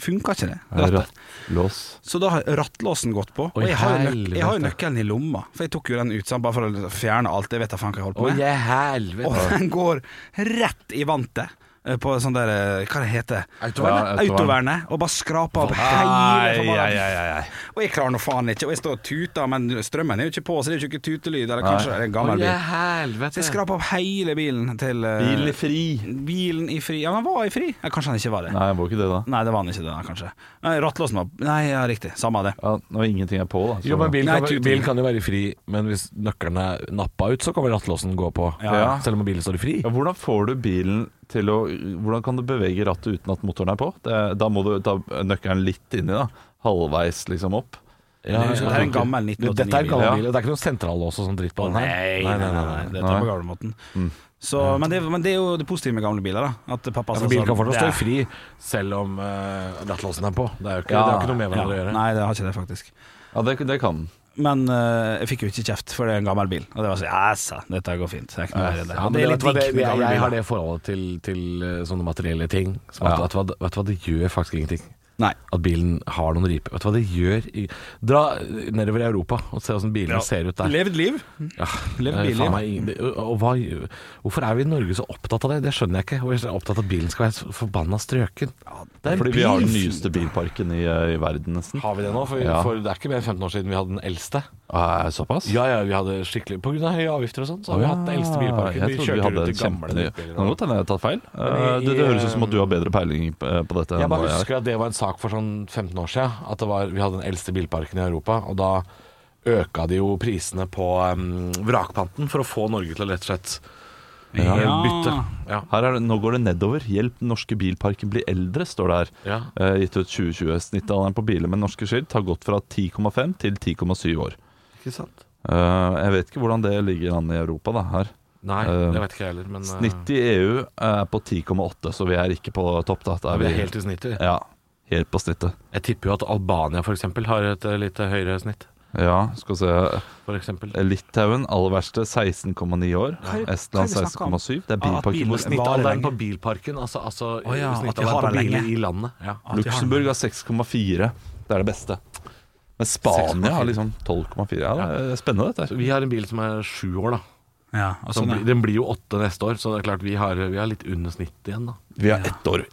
D: funka ikke det. Rattet.
E: Lås.
D: Så da har rattlåsen gått på, og
E: Oi,
D: jeg har, jo nøk
E: helvete.
D: jeg har jo nøkkelen i lomma. For jeg tok jo den ut sånn, bare for å fjerne alt. Jeg vet da faen hva jeg holdt
E: Å,
D: på med.
E: jeg helvete.
D: Og den går rett i vantet. eh, På sånn der eh, Hva det heter
E: Autovern.
D: Ja, Autovernet. Og bare skraper opp hele
F: Ai,
D: forbanna
F: ai, ai, ai, ai.
D: Og jeg klarer nå faen ikke. Og jeg står og tuter, men strømmen er jo ikke på, så det er jo ikke tutelyd. Eller kanskje det er en
E: Å,
D: gammel
E: jeg
D: bil. Så
E: helvete.
D: jeg skraper opp hele bilen til eh,
C: Bilen i fri.
D: bilen i fri. Ja, men han var i fri. Ja, kanskje han ikke var det.
C: Nei, jeg må ikke det, da.
D: Nei, det var han ikke, det, da, kanskje. Nei, Rattlåsen var Nei, ja, riktig. Samme av det.
C: Ja, når ingenting er på, da. så-
E: Jo, men bilen kan,
D: Nei, tut-
E: bilen kan jo være i fri, men hvis nøkkelen er nappa ut, så kan vel rattlåsen gå på.
C: ja.
E: Selv om bilen står i fri.
C: ja, hvordan får du bilen til å Hvordan kan du bevege rattet uten at motoren er på? Det, da må du ta nøkkelen litt inni, da. Halvveis liksom opp.
E: Ja,
D: Det er en gammel
E: Du, Dette er
D: 1989-bil.
E: gammel
C: Ja.
E: bil, og det er ikke noen sentrallås og sånn dritt på den her.
D: Nei, nei, nei, nei, det
C: Nei.
D: tar på gamlemåten. Så, men, det, men det er jo det positive med gamle biler, da. At pappa sa
E: Ja, for Altså, bilen
D: sånn,
E: kan fortsatt
D: det er-
E: stå i fri, selv om eh, rattlåsen er på. Det er jo ikke,
C: Ja,
E: det har ikke noe med hverandre å
D: Ja.
E: gjøre.
D: Nei, det har ikke det, faktisk.
C: Ja, det, det kan den.
D: Men eh, jeg fikk jo ikke kjeft, for det er en gammel bil. Og det var sånn Æsja, dette går fint. Det er ikke noe verre, det.
E: Ja,
D: Og
E: men
D: det er
E: vet
D: litt
E: du hva, det-
D: digg med
E: jeg,
D: gamle
E: jeg
D: biler.
E: har det forholdet til, til eh, sånne materielle ting. Som at,
C: Ja.
E: vet, du hva, det- vet du hva, det gjør faktisk ingenting.
D: Nei.
E: At bilen har noen riper. Vet du hva det gjør i Dra nedover i Europa og se åssen bilene ser ut der.
D: Levd liv.
E: Ja,
D: Lev
E: det er
D: billig.
E: faen meg ingen- det- og- og hva, hvorfor er vi i Norge så opptatt av det? Det skjønner jeg ikke. Hvorfor er vi så opptatt av at bilen skal være så forbanna strøken. Det er en
C: Fordi vi har
E: bil.
C: den nyeste bilparken i, eh, i verden, nesten.
E: Har vi det nå? For,
C: Ja.
E: for det er ikke mer enn 15 år siden vi hadde den eldste.
C: Ah, såpass?
E: Ja, ja, vi hadde skikkelig På grunn av høye avgifter og sånn, så har vi hatt den eldste bilparken.
C: Jeg
E: Vi
C: trodde vi
E: kjørte
C: hadde en
E: rundt i gamle sånn.
C: kjempenytt
E: nybiler.
C: Nå godt hende jeg har tatt feil. Eh,
E: i-
C: Det, det høres ut som at du har bedre peiling eh, på dette
E: Jeg
C: enn
E: bare
C: hva jeg har.
E: husker at det var en sak for sånn 15 år siden. At det var, vi hadde den eldste bilparken i Europa. Og da øka de jo prisene på em, vrakpanten for å få Norge til å rett og slett ja, bytte. Ja.
C: Her er det, nå går det nedover. Hjelp den norske bilparken bli eldre, står det her.
E: Ja.
C: Eh, gitt ut 2020. Snittalderen på biler med norske skilt har gått fra 10,5 til 10,7 år.
E: Ikke sant?
C: Eh, jeg vet ikke hvordan det ligger an i Europa, da. her
E: Nei,
C: Eh,
E: det vet ikke jeg heller. Men eh,
C: Snitt i EU er på 10,8, så vi er ikke på topp. da Da
E: vi er helt i snittet. vi.
C: Ja, helt på snittet.
E: Jeg tipper jo at Albania f.eks. har et eh, litt høyere snitt.
C: Ja, skal vi se.
E: For eksempel.
C: Litauen, aller verste, 16,9 år. Estland
D: hva er det vi snakker om?
C: 16,7. Det er
D: Ah, at
C: bilparken
D: biler
C: hvor
D: snitt-
E: Snittalderen på bilparken, altså, altså
D: Å ja, at de
E: snittalderen
D: har
E: på
D: den
E: biler
D: lenge.
E: i landet. Ja.
D: At vi har den.
C: Luxembourg har 6,4. Det er det beste. Men Spania
E: 6,4.
C: har liksom 12,4. Ja, det er spennende, dette.
E: Så
C: her.
E: vi har en bil som er sju år, da.
D: Ja, og
E: Så
D: sånn,
E: blir-
D: ja.
E: Den blir jo åtte neste år, så det er klart vi har, vi har litt under snittet igjen, da.
C: Vi har ett år.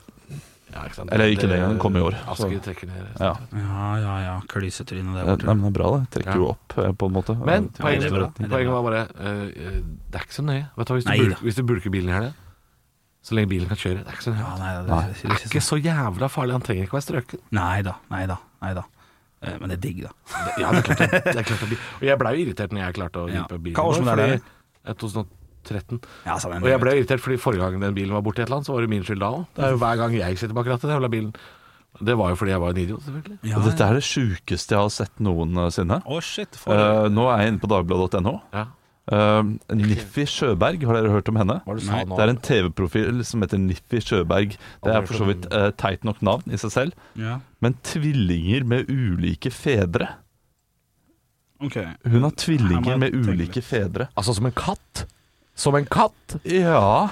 E: Ja, ikke sant?
C: Eller ikke det, den kom i år.
E: Asker trekker ned.
C: Ja.
D: ja, ja, ja. Klysetryne der
C: Nei,
D: borte.
C: men det er bra, det. Trekker jo opp, eh, på en måte.
E: Men
C: Ja,
D: det
E: poenget,
D: er bra. Det er bra.
E: poenget var bare eh, Det er ikke så nøye. Vet du, hva, hvis, du
D: Nei da.
E: bulker, hvis du bulker bilen i helga, så lenge bilen kan kjøre, det er ikke så
D: Ja,
E: nøye.
D: nei, det,
C: Nei.
D: det,
E: Det er ikke så jævla farlig. Han trenger ikke være strøken.
D: Nei da, nei da. Nei da. Eh, Men det er digg, da.
E: Ja, det er klart det. det er klart det blir- og jeg blei jo irritert når jeg klarte å
D: Ja.
E: vippe bilen.
D: Hva årsmodell
E: vår,
D: er
E: fordi- eh, 2013.
D: Ja, sånn,
E: Og jeg ble irritert fordi forrige gang den bilen var borte i et eller annet, så var det min skyld da òg. Det er jo hver gang jeg sitter bak rattet i den jævla bilen. Det var jo fordi jeg var en idiot, selvfølgelig.
D: ja,
C: Og dette
D: ja.
C: er det sjukeste jeg har sett noensinne.
D: Å, shit. For...
C: Eh, nå er jeg inne på dagbladet.no.
E: Ja.
C: Eh, Niffi Sjøberg, har dere hørt om henne?
E: Hva er det du sa
D: Nei,
E: nå?
C: Det er en TV-profil som heter Niffi Sjøberg. Det er for så vidt eh, teit nok navn i seg selv,
D: ja.
C: men tvillinger med ulike fedre.
D: Ok.
C: Hun har
D: Her
C: tvillinger
D: må
C: med
D: jeg tenke
C: ulike
D: litt.
C: fedre.
E: Altså som en katt? Som en katt?
C: Ja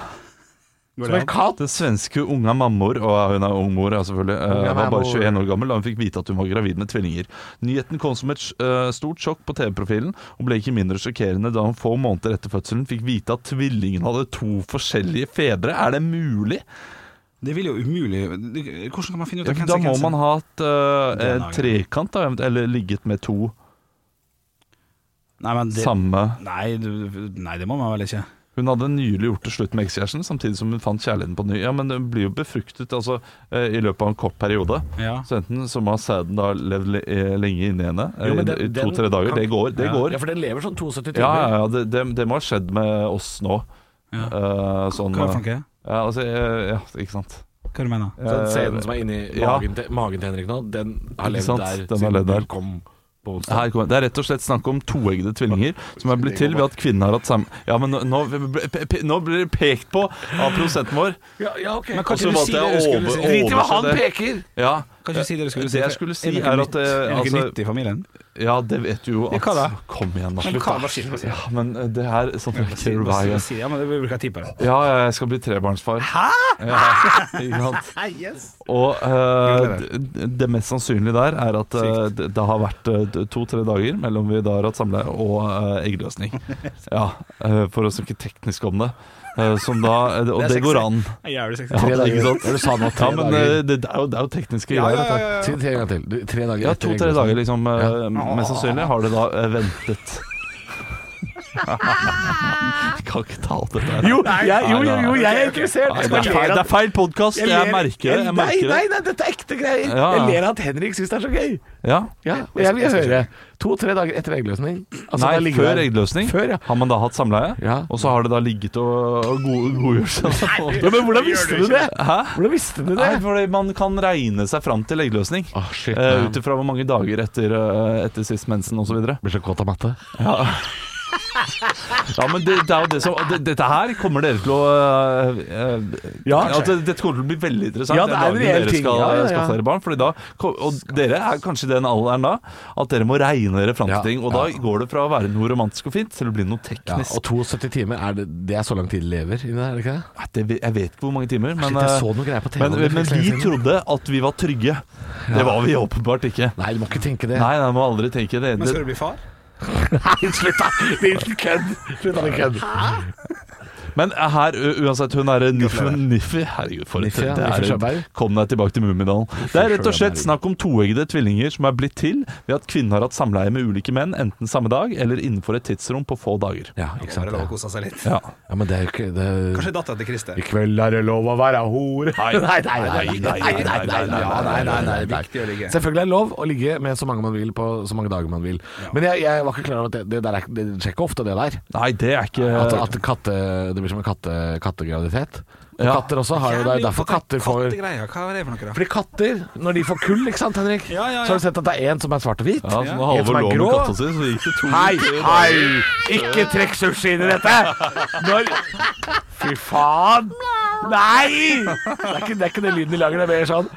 E: Som en katt?
C: Den svenske unga mammor, og hun er ung mor ja, selvfølgelig,
E: Unga
C: eh, var bare
E: mammor.
C: 21 år gammel da hun fikk vite at hun var gravid med tvillinger. Nyheten kom som et eh, stort sjokk på TV-profilen, og ble ikke mindre sjokkerende da hun få måneder etter fødselen fikk vite at tvillingene hadde to forskjellige fedre. Er det mulig?
D: Det vil jo umulig det- Hvordan kan man finne ut
C: Ja,
D: av
C: men
D: hvem
C: da
D: som er
C: må
D: hvem som-
C: man ha et eh,
D: Den
C: en
D: dagen.
C: trekant, da, eventuelt, eller ligget med to
D: Nei, men det,
C: samme
D: nei, du- nei, det må man vel ikke.
C: Hun hadde nylig gjort det slutt med ekskjæresten, samtidig som hun fant kjærligheten på ny. Ja, men hun blir jo befruktet altså, eh, i løpet av en kort periode.
D: Ja.
C: Så enten så må sæden da levd le- eh, lenge inni henne,
E: Jo, men den- den
C: to-tre dager.
E: kan-
C: Det går. Det går.
E: Ja, for den lever sånn 72 timer.
C: Ja, ja, ja det, det, det må ha skjedd med oss nå.
D: Ja.
C: Eh, sånn,
D: Hva, Franke?
C: ja, altså, eh, ja, ikke sant.
D: Hva du mener du?
E: Så den
C: Eh,
E: scenen som er inni
C: ja.
E: magen, til, magen til Henrik nå, den har
C: Ikke
E: levd
C: sant?
E: der
C: Den har levd der.
E: du kom på onsdag.
C: Her kommer, det er rett og slett snakk om toeggede tvillinger som er blitt til ved at kvinnen har hatt samme Ja, men nå, nå, pe- pe- nå blir det pekt på av prosenten vår.
E: Ja, ja, ok.
D: Men kan
C: Og så
D: ikke du
C: valgte
D: si
C: jeg
D: det du
C: å
D: skulle
C: over-
D: si?
E: Drit i hva han
C: overse det.
E: peker!
C: Ja,
D: Kan ikke si det du skulle
C: Det
D: si?
C: Altså, jeg
D: for-
C: skulle si
D: er det
C: er
D: noe
C: at,
D: nytt? Er det
C: eh,
D: noe nytt i familien?
C: ja, det vet du jo
D: Ja,
C: at
D: hva da?
C: Kom igjen, da.
D: Men
C: Slutt,
D: hva-
C: da.
D: hva sier du?
C: Ja, men eh, det her sånn
D: Bare si-
C: funker
D: bare si-
C: veien.
D: si- Ja, men det bruker jeg tid på det.
C: Ja, ja, jeg skal bli trebarnsfar. Hæ?! Ja, ikke sant? Og eh, d- det mest sannsynlige der er at eh, det, det har vært eh, to-tre dager mellom vi da har hatt samleie og eh, eggløsning. Ja, eh, for å snakke teknisk om det. Eh, som da, og det,
D: Det er
C: går an.
D: Jævlig sexy.
C: Ja, ikke sant?
E: Du sa nå
C: Ja,
E: tre
C: men
E: dager.
C: eh, det, det er jo, det er jo tekniske
D: Ja,
C: greier.
D: ja,
C: dette.
D: ja, ja.
E: Si det en gang til. Du, tre dager
C: Ja,
E: etter
C: to-tre dager liksom eh,
E: Ja.
C: Mest sannsynlig har det da eh, ventet Jeg kan ikke ta alt dette her
E: Jo, jeg, jo, jo, jo, jeg er interessert.
C: Nei,
E: Jeg
C: det,
E: bare
C: er
E: ler
C: feil, det
E: av-
C: er feil podcast Jeg,
E: ler-
C: merker det, jeg merker
E: Nei,
C: det
E: nei, nei, dette er ekte greier.
C: Ja.
E: Jeg ler av at Henrik syns det er så gøy.
C: ja.
E: Ja, og jeg vil høre. To-tre dager etter eggløsning. Altså, da
C: Nei,
E: ligger
C: før
E: der-
C: eggløsning
E: Før, ja.
C: Har man da hatt samleie
E: Ja.
C: Og så har det da ligget og, og go- godgjort seg
E: ja, Men hvordan visste du det?
C: Hæ?
E: Hvordan visste du
C: altså. Nei,
E: det?
C: fordi man kan regne seg fram til eggløsning
E: Åh, shit,
C: eh,
E: man.
C: Ut ifra hvor mange dager etter, eh, etter sist mensen og så videre
E: Blir så kåt av matte.
C: Ja, men det, det er jo det som det, Dette her kommer dere til å øh, øh,
E: Ja.
C: altså, Dette kommer til å bli veldig interessant
E: Ja, det er en
C: den dagen
E: reell
C: dere
E: ting.
C: skal
E: Ja, ja, ja.
C: skaffe dere barn. Fordi da, kom- og dere er kanskje i den alderen da at dere må regne dere fram til
E: Ja,
C: ting. Og da går det fra å være noe romantisk og fint til å bli noe
E: Ja,
C: teknisk.
E: og 72 timer, er det, det er så lang tid det lever inni der, er det ikke det?
C: Nei, det, vet- jeg vet ikke hvor mange timer, men,
E: Shit, jeg
C: øh,
E: så noe greier på TV
C: men,
E: om det for
C: men
E: ikke så
C: vi
E: lenge siden.
C: trodde at vi var trygge. Det var vi åpenbart ikke.
E: Nei, du må ikke tenke det.
C: Nei, nei, må aldri tenke det.
D: Men skal du
C: det.
D: bli far?
E: Nei, slutt, da! Liten kødd. Slutt, da, din kødd.
C: Men her, u- uansett, hun er Niffi. Niffi. Herregud, for et
E: Niffi, ja.
C: det er
E: Niffi
C: et-
E: Sjøberg.
C: Kom deg tilbake til Mummidalen. Det er rett og slett snakk om toeggede tvillinger som er blitt til ved at kvinnen har hatt samleie med ulike menn enten samme dag eller innenfor et tidsrom på få dager.
E: Ja, ikke
D: Bare
E: sant.
D: lov å
E: Ja.
D: kose seg litt.
C: Ja.
E: ja, men det er jo ikke det er...
D: Kanskje dattera til Christer.
E: I kveld er det lov å være hore. Nei, nei, nei. nei, nei, nei, nei, nei,
D: Ja, nei, nei, nei,
E: nei.
D: viktig å ligge.
E: Selvfølgelig er det lov å ligge med så mange man vil på så mange dager man vil. Men jeg, jeg var ikke klar over at det, det der er ikke- Det skjer ikke ofte, det der.
C: Nei, det er ikke
E: At, at katte, det blir som en katte, kattegraviditet. Og
C: Ja.
E: Katter også har jo det. er Derfor katter får
D: Kattegreier, hva er det for noe, da?
E: Fordi katter, når de får kull, ikke sant Henrik?
D: Ja, ja, ja.
E: Så har du sett at det er en som er svart og hvit?
C: ja, så når
E: En som
C: Halvor
E: er
C: lå med
E: grå.
C: katta si, så gikk det to
E: Hei, hei! Ikke trekk sushi inn i dette! Når Fy faen! Nei! Det er ikke, det, er ikke det lyden de lager, det er mer sånn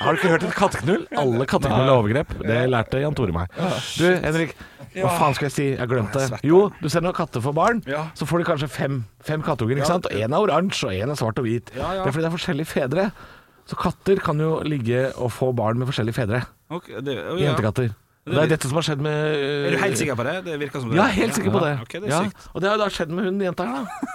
E: Har du ikke hørt et katteknull? Alle katteknull er overgrep. Det lærte Jan Tore meg. Du, Henrik. Hva faen skal jeg si? Jeg glemte det. Jo, du ser når katter får barn,
D: Ja.
E: så får de kanskje fem, fem kattunger. ikke sant? Og én er oransje, og én er svart og hvit. Det
D: Ja, ja.
E: er fordi det er forskjellige fedre. Så katter kan jo ligge og få barn med forskjellige fedre.
D: Ok, det- å, ja.
E: Jentekatter. Det er dette som har skjedd med
D: Er du helt sikker på det? Det virker som det.
E: ja, helt sikker på det.
D: Ja, ok, det er
E: ja.
D: sykt.
E: Og det har jo da skjedd med hun jenta her,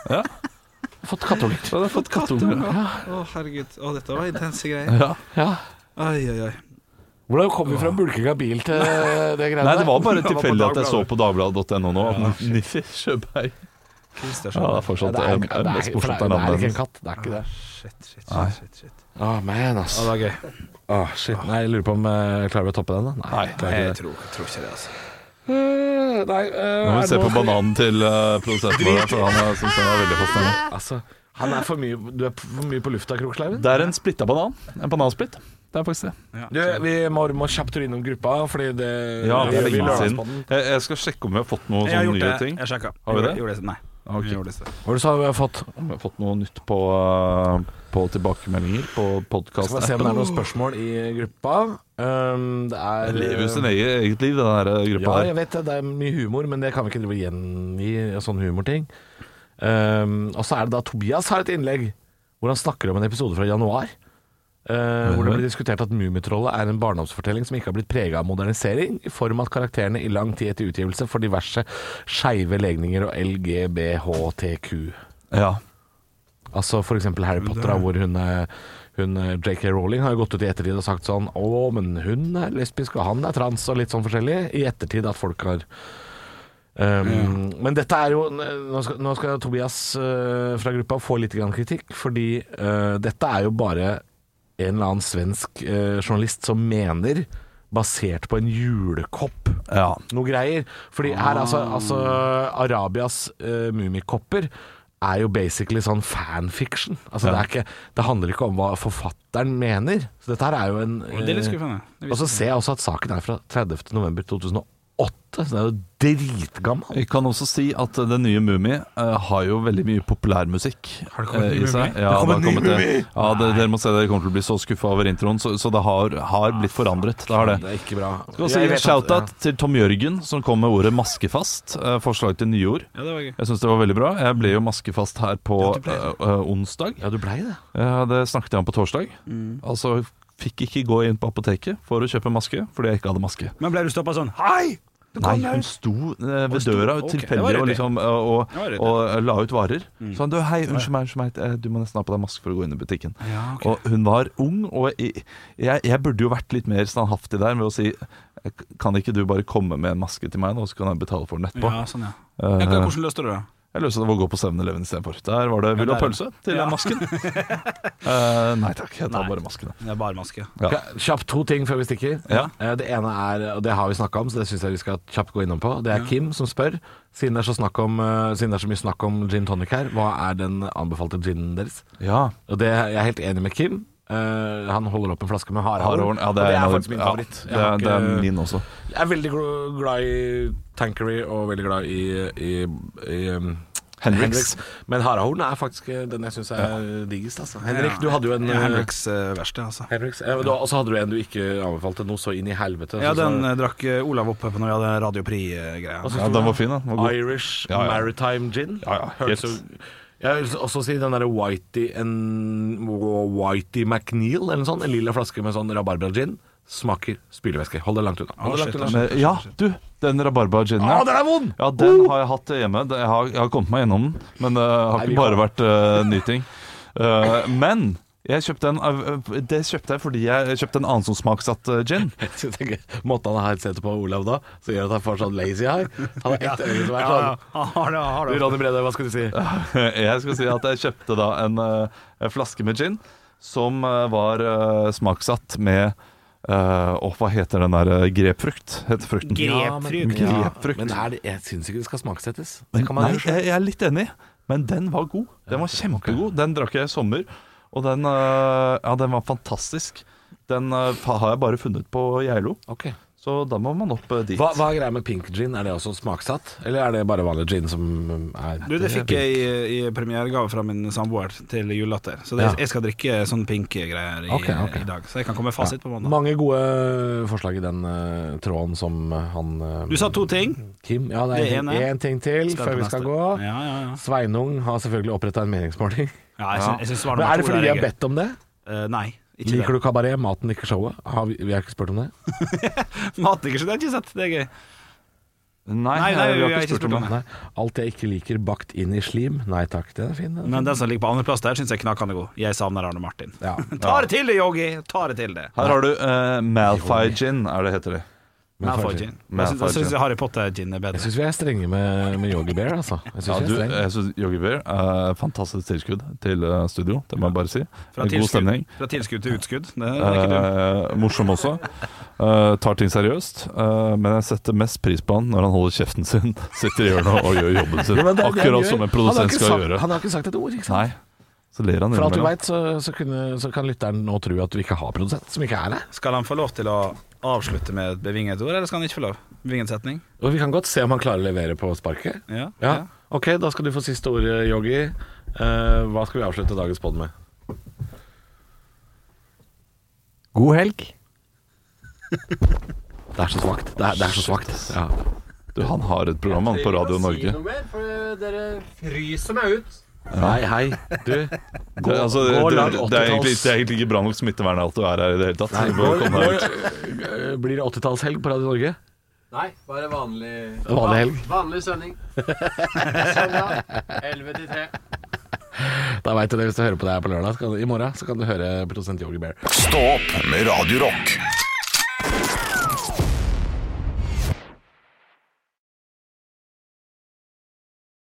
E: da.
C: Ja.
E: Fått kattunger.
C: Så hadde jeg fått kattunger.
E: Ja.
D: Å, herregud. Å, dette var intense greier.
E: Ja.
D: Oi, oi, oi.
E: Hvordan kom vi fra bulking av bil til det greiene
C: Nei, det var bare
D: Det var på
C: tilfeldig at jeg så
D: Dagbladet.
C: på dagbladet.no nå. at Niffi Sjøberg. Ja, det
D: Christer, sånn.
C: er
E: Ja,
C: fortsatt
E: det er, det
C: eh,
E: er,
C: mest
E: for det
C: morsomt
E: er,
C: av
E: det er ikke
C: navnet.
E: en katt. Det er ikke det.
D: Shit, shit, shit, shit, shit.
E: Å, man, ass.
D: Ja, det var gøy.
E: Å, shit. Nei, jeg lurer på om eh, klarer vi å toppe den, da? Nei.
D: Jeg tror, jeg tror ikke det, altså.
E: Eh, nei eh,
C: Nå må
E: er
C: vi se
E: det
C: på
E: noe-
C: bananen til eh, produsenten vår, for han eh, synes den var veldig fascinerende.
E: Altså, han er for mye Du er for mye på lufta, Kroksleiven.
C: Det er en splitta banan. En banansplitt. Det er faktisk det.
E: Du, vi må, må kjapt innom gruppa, fordi det
C: Ja, det er
E: vi- vi
C: lenge
E: lørdagsbåten.
C: siden. Jeg, jeg skal sjekke om vi har fått noen
D: Jeg har
C: sånne
D: gjort
C: nye
D: det.
C: ting.
D: Jeg sjekka.
C: Har vi det?
D: Gjorde det? Nei.
E: Ah,
C: Ok.
D: Jeg gjorde det.
E: Hva er det du sa vi har fått?
C: Om vi har fått noe nytt på, eh, på tilbakemeldinger på
E: Skal vi se om
C: podkast-appen.
E: det er noen spørsmål i gruppa. Um, det er um,
C: Jeg lever jo sin eget, eget liv, den her
E: Ja,
C: gruppa her.
E: jeg vet det. Det er mye humor, men det kan vi ikke drive og gjengi sånne humorting. Um, og så er det da Tobias har et innlegg hvor han snakker om en episode fra januar. Uh,
C: Mhm.
E: hvor det ble diskutert at Mummitrollet er en barndomsfortelling som ikke har blitt prega av modernisering, i form av at karakterene i lang tid etter utgivelse får diverse skeive legninger og LGBHTQ.
C: Ja.
E: Altså for eksempel Harry Potter, da, hvor hun, eh, hun eh, JK Rowling har jo gått ut i ettertid og sagt sånn Å, men hun er lesbisk, og han er trans, og litt sånn forskjellig. I ettertid at folk har Um, Men dette er jo Nå skal, nå skal Tobias eh, fra gruppa få litt grann kritikk, fordi eh, dette er jo bare en eller annen svensk eh, journalist som mener, basert på en julekopp,
C: Ja.
E: noe greier. Fordi her, altså, altså Arabias uh, mummikopper er jo basically sånn fanfiction. Altså, det, er ikke, det handler ikke om hva forfatteren mener. Så dette her er jo en
D: Det er litt
E: eh,
D: skuffende. Det
E: Og så ser jeg også at saken er fra 30. november 2008, så den er jo dritgammel.
C: Vi kan også si at eh, den nye Mummi har jo veldig mye populærmusikk
G: Har det kommet
C: eh,
G: ny Mumie?
C: Ja, det har kommet det. Ja, det, dere må se dere kommer til å bli så skuffa over introen, så, så det har, har blitt forandret. Det har det.
E: er ikke bra.
C: Skal også gi en shout-out til Tom Jørgen, som kom med ordet 'maskefast'. eh, Forslag til nyord.
D: Ja, det var gøy.
C: Jeg syns det var veldig bra. Jeg ble jo maskefast her på eh, eh, onsdag.
E: Ja, du blei det.
C: Eh, det snakket jeg om på torsdag. Altså fikk ikke gå inn på apoteket for å kjøpe maske, fordi jeg ikke hadde maske.
D: Men ble du stoppa sånn Hei! Du
C: Nei,
D: kom
C: hun
D: løs!
C: sto eh, ved
D: sto-
C: døra
D: ok, det
C: tilfeldig
D: var
C: og,
D: ryddig.
C: liksom, eh, og,
D: Det var ryddig. Mm.
C: og, eh, la ut varer. Så han du, hei, unnskyld meg, unnskyld meg, eh, du må nesten ha på deg maske for å gå inn i butikken.
D: Ja, ok.
C: Og hun var ung, og jeg, jeg, jeg burde jo vært litt mer standhaftig der med å si "Eh, kan ikke du bare komme med en maske til meg nå, så kan jeg betale for den etterpå?
D: Ja, sånn, ja.
C: Eh,
D: Ja, hva- Hvordan løste du det?
C: jeg løste det ved å gå på 7-Eleven istedenfor. Der var det 'vil du ha
D: der-
C: pølse?' til den masken. Eh, nei takk, jeg tar bare masken.
D: Det er bare maske.
C: Ja.
E: Ok, Kjapt to ting før vi stikker.
C: Ja.
E: Eh, Det ene er, og det har vi snakka om, så det syns jeg vi skal kjapt gå innom på. Det er Kim som spør, siden det, er så snakk om, eh, siden det er så mye snakk om gin tonic her, hva er den anbefalte ginen deres?
C: Ja.
E: Og det, Jeg er helt enig med Kim. Eh, han holder opp en flaske med
C: Harehorn.
E: harehorn.
C: Ja,
E: og
C: det er, en av-
E: faktisk min
C: ja,
E: favoritt. Jeg
C: det, er-
E: har
C: det er
E: ikke-
C: min også.
E: Jeg er veldig gl- glad i Tankery og veldig glad i, i, i um,
C: Henriks.
E: Men Harahorn er faktisk eh, den jeg syns er diggest. Altså. Henrik, du hadde jo en
D: ja,
E: eh,
D: Henriks eh, verste, altså.
E: Henriks, eh, da- Og så hadde du en du ikke anbefalte noe så inn i helvete.
D: Ja,
E: Så-
D: den eh, drakk eh, Olav opp på når vi hadde Radio eh, Prix-greia.
E: Hva syns
C: eh, Ja, den
E: du da?
C: var fin, den. Den var god.
E: Irish
C: Ja, ja.
E: Maritime Gin.
C: Ja, ja,
E: Hørte
C: helt.
E: så- Jeg vil også si den derre Whitey and Whitey McNeil, eller noe sånt. En lilla flaske med sånn rabarbragin. Smaker spylevæske. Hold det langt unna. Hold det langt unna.
C: Men, ja, du, den rabarbra-ginen.
E: Å, den er vond! Oh!
C: Ja, den har jeg hatt hjemme. Det- Jeg har, jeg har kommet meg gjennom den, men det har
E: Nei,
C: ikke
E: vi
C: bare
E: har-
C: vært eh, nyting. Eh, men jeg kjøpte en, av- eh, det kjøpte jeg fordi jeg kjøpte en annen som smaksatt eh, gin.
E: Så jeg tenker, Måten han har sett på Olav da, som gjør at han får sånn lazy eye Han har ett øye som er sånn
D: Har det, har
E: Du, Ronny Brede, hva skal du si?
C: jeg skal si at jeg kjøpte da en, eh, en flaske med gin som eh, var eh, smaksatt med eh, Åh, hva heter den der eh, grepfrukt? Heter frukten.
D: Grepfrukt.
E: Ja,
C: Grepfrukt.
E: men er det, jeg syns ikke det skal smaksettes. Det kan man
C: Nei,
E: gjøre selv.
C: jeg, jeg er litt enig, men den var god. Den var kjempegod. Den drakk jeg i sommer, og den, øh, ja, den var fantastisk. Den øh, fa- har jeg bare funnet på Geilo,
E: Ok.
C: så da må man opp øh, dit.
E: Hva, hva er greia med pink gin? Er det også smaksatt? Eller er det bare vanlig gin som um, er
D: Du, det fikk jeg i, i premieregave fra min samboer til julelatter. Så det,
E: Ja.
D: jeg skal drikke sånn pink-greier i,
E: Ok, ok.
D: i dag. Så jeg kan komme med fasit på mandag.
E: Mange gode forslag i den eh, tråden som eh, han eh,
D: Du sa to ting.
E: Kim. Ja, det
D: Det
E: er
D: ene.
E: én ting til
D: Spør
E: før
D: på
E: vi skal
D: neste.
E: gå.
D: Ja, ja, ja.
E: Sveinung har selvfølgelig oppretta en meningsmåling.
D: ja jeg syns, jeg syns svar
E: Men
D: nummer
E: er det
D: to
E: fordi
D: der
E: vi
D: er gøy.
E: har bedt om det?
D: Eh, nei, ikke
E: Liker
D: det.
E: du kabaret? Maten, ikke showet? Har vi, vi har ikke spurt om det.
D: Matdikker, så det har jeg ikke sett. Det er gøy.
C: Nei,
D: Nei, nei,
C: vi
D: vi
C: har
D: har
C: ikke spurt om det.
E: Nei. Alt jeg ikke liker bakt inn i slim. Nei takk, den er fin. Den.
D: Men den som ligger på andreplass der, syns jeg er knakende god. Jeg savner Arne Martin.
E: Ja.
D: Ta det til det, Yogi! Ta det til det.
C: Her har du øh, Malfoy gin, er det heter det.
D: Malfoy gin. Jeg syns-
C: Malfoy
D: jeg syns
C: gin.
D: Harry Potter-gin er
E: Jeg
D: bedre.
E: syns vi er strenge med, med Yogi Bear, altså. Jeg
C: Ja,
E: synes
C: du,
D: eh,
E: vi er streng.
C: jeg synes Yogi Bear er fantastisk tilskudd til øh, studio, det må jeg bare si.
D: Fra
C: God
D: tilskudd,
C: stemning.
D: fra tilskudd til utskudd. Det er ikke dumt.
C: Eh, morsom også. Eh, tar ting seriøst. Eh, men jeg setter mest pris på han når han holder kjeften sin, sitter i hjørnet og gjør jobben sin.
E: Ja, men det er det han
C: Akkurat
E: gjør.
C: som en
E: Han har
C: produsent
E: ikke
C: skal
E: sagt-
C: gjøre.
E: Han har ikke sagt et ord, ikke sant?
C: Nei, så ler han
E: For alt du
C: innimellom.
E: veit, så, så, kunne- så kan lytteren nå tro at du ikke har produsent, som ikke er det.
D: Skal han få lov til å avslutte med et bevinget ord, eller skal han ikke få lov? Bevinget setning?
E: Og vi kan godt se om han klarer å levere på sparket.
D: Ja.
E: Ja. Ok, da skal du få siste ord, Yogi. Eh, hva skal vi avslutte dagens pod med? God helg. Det er så svakt. Det er, det er så svakt. Ja.
C: Du, han har et program han, på Radio Norge.
H: mer, for dere fryser meg ut.
E: Nei, hei. Du,
C: Det, altså, det,
E: gå og
C: det,
E: lag
C: det, er egentlig,
E: 80-talls.
C: det er egentlig ikke bra nok smittevern at du er her i det hele tatt. Du bør
E: Nå-
C: komme
E: nå,
C: deg ut.
E: øh, blir det 80-tallshelg på Radio Norge?
H: Nei, bare vanlig
E: Vanlig helg.
H: Vanlig sending. Søndag 11 til 3.
E: Da veit du det hvis du hører på det her på lørdag. Så kan, du- I morgen så kan du høre Produsent Yogi Bear.
A: Stå opp med Radio Rock.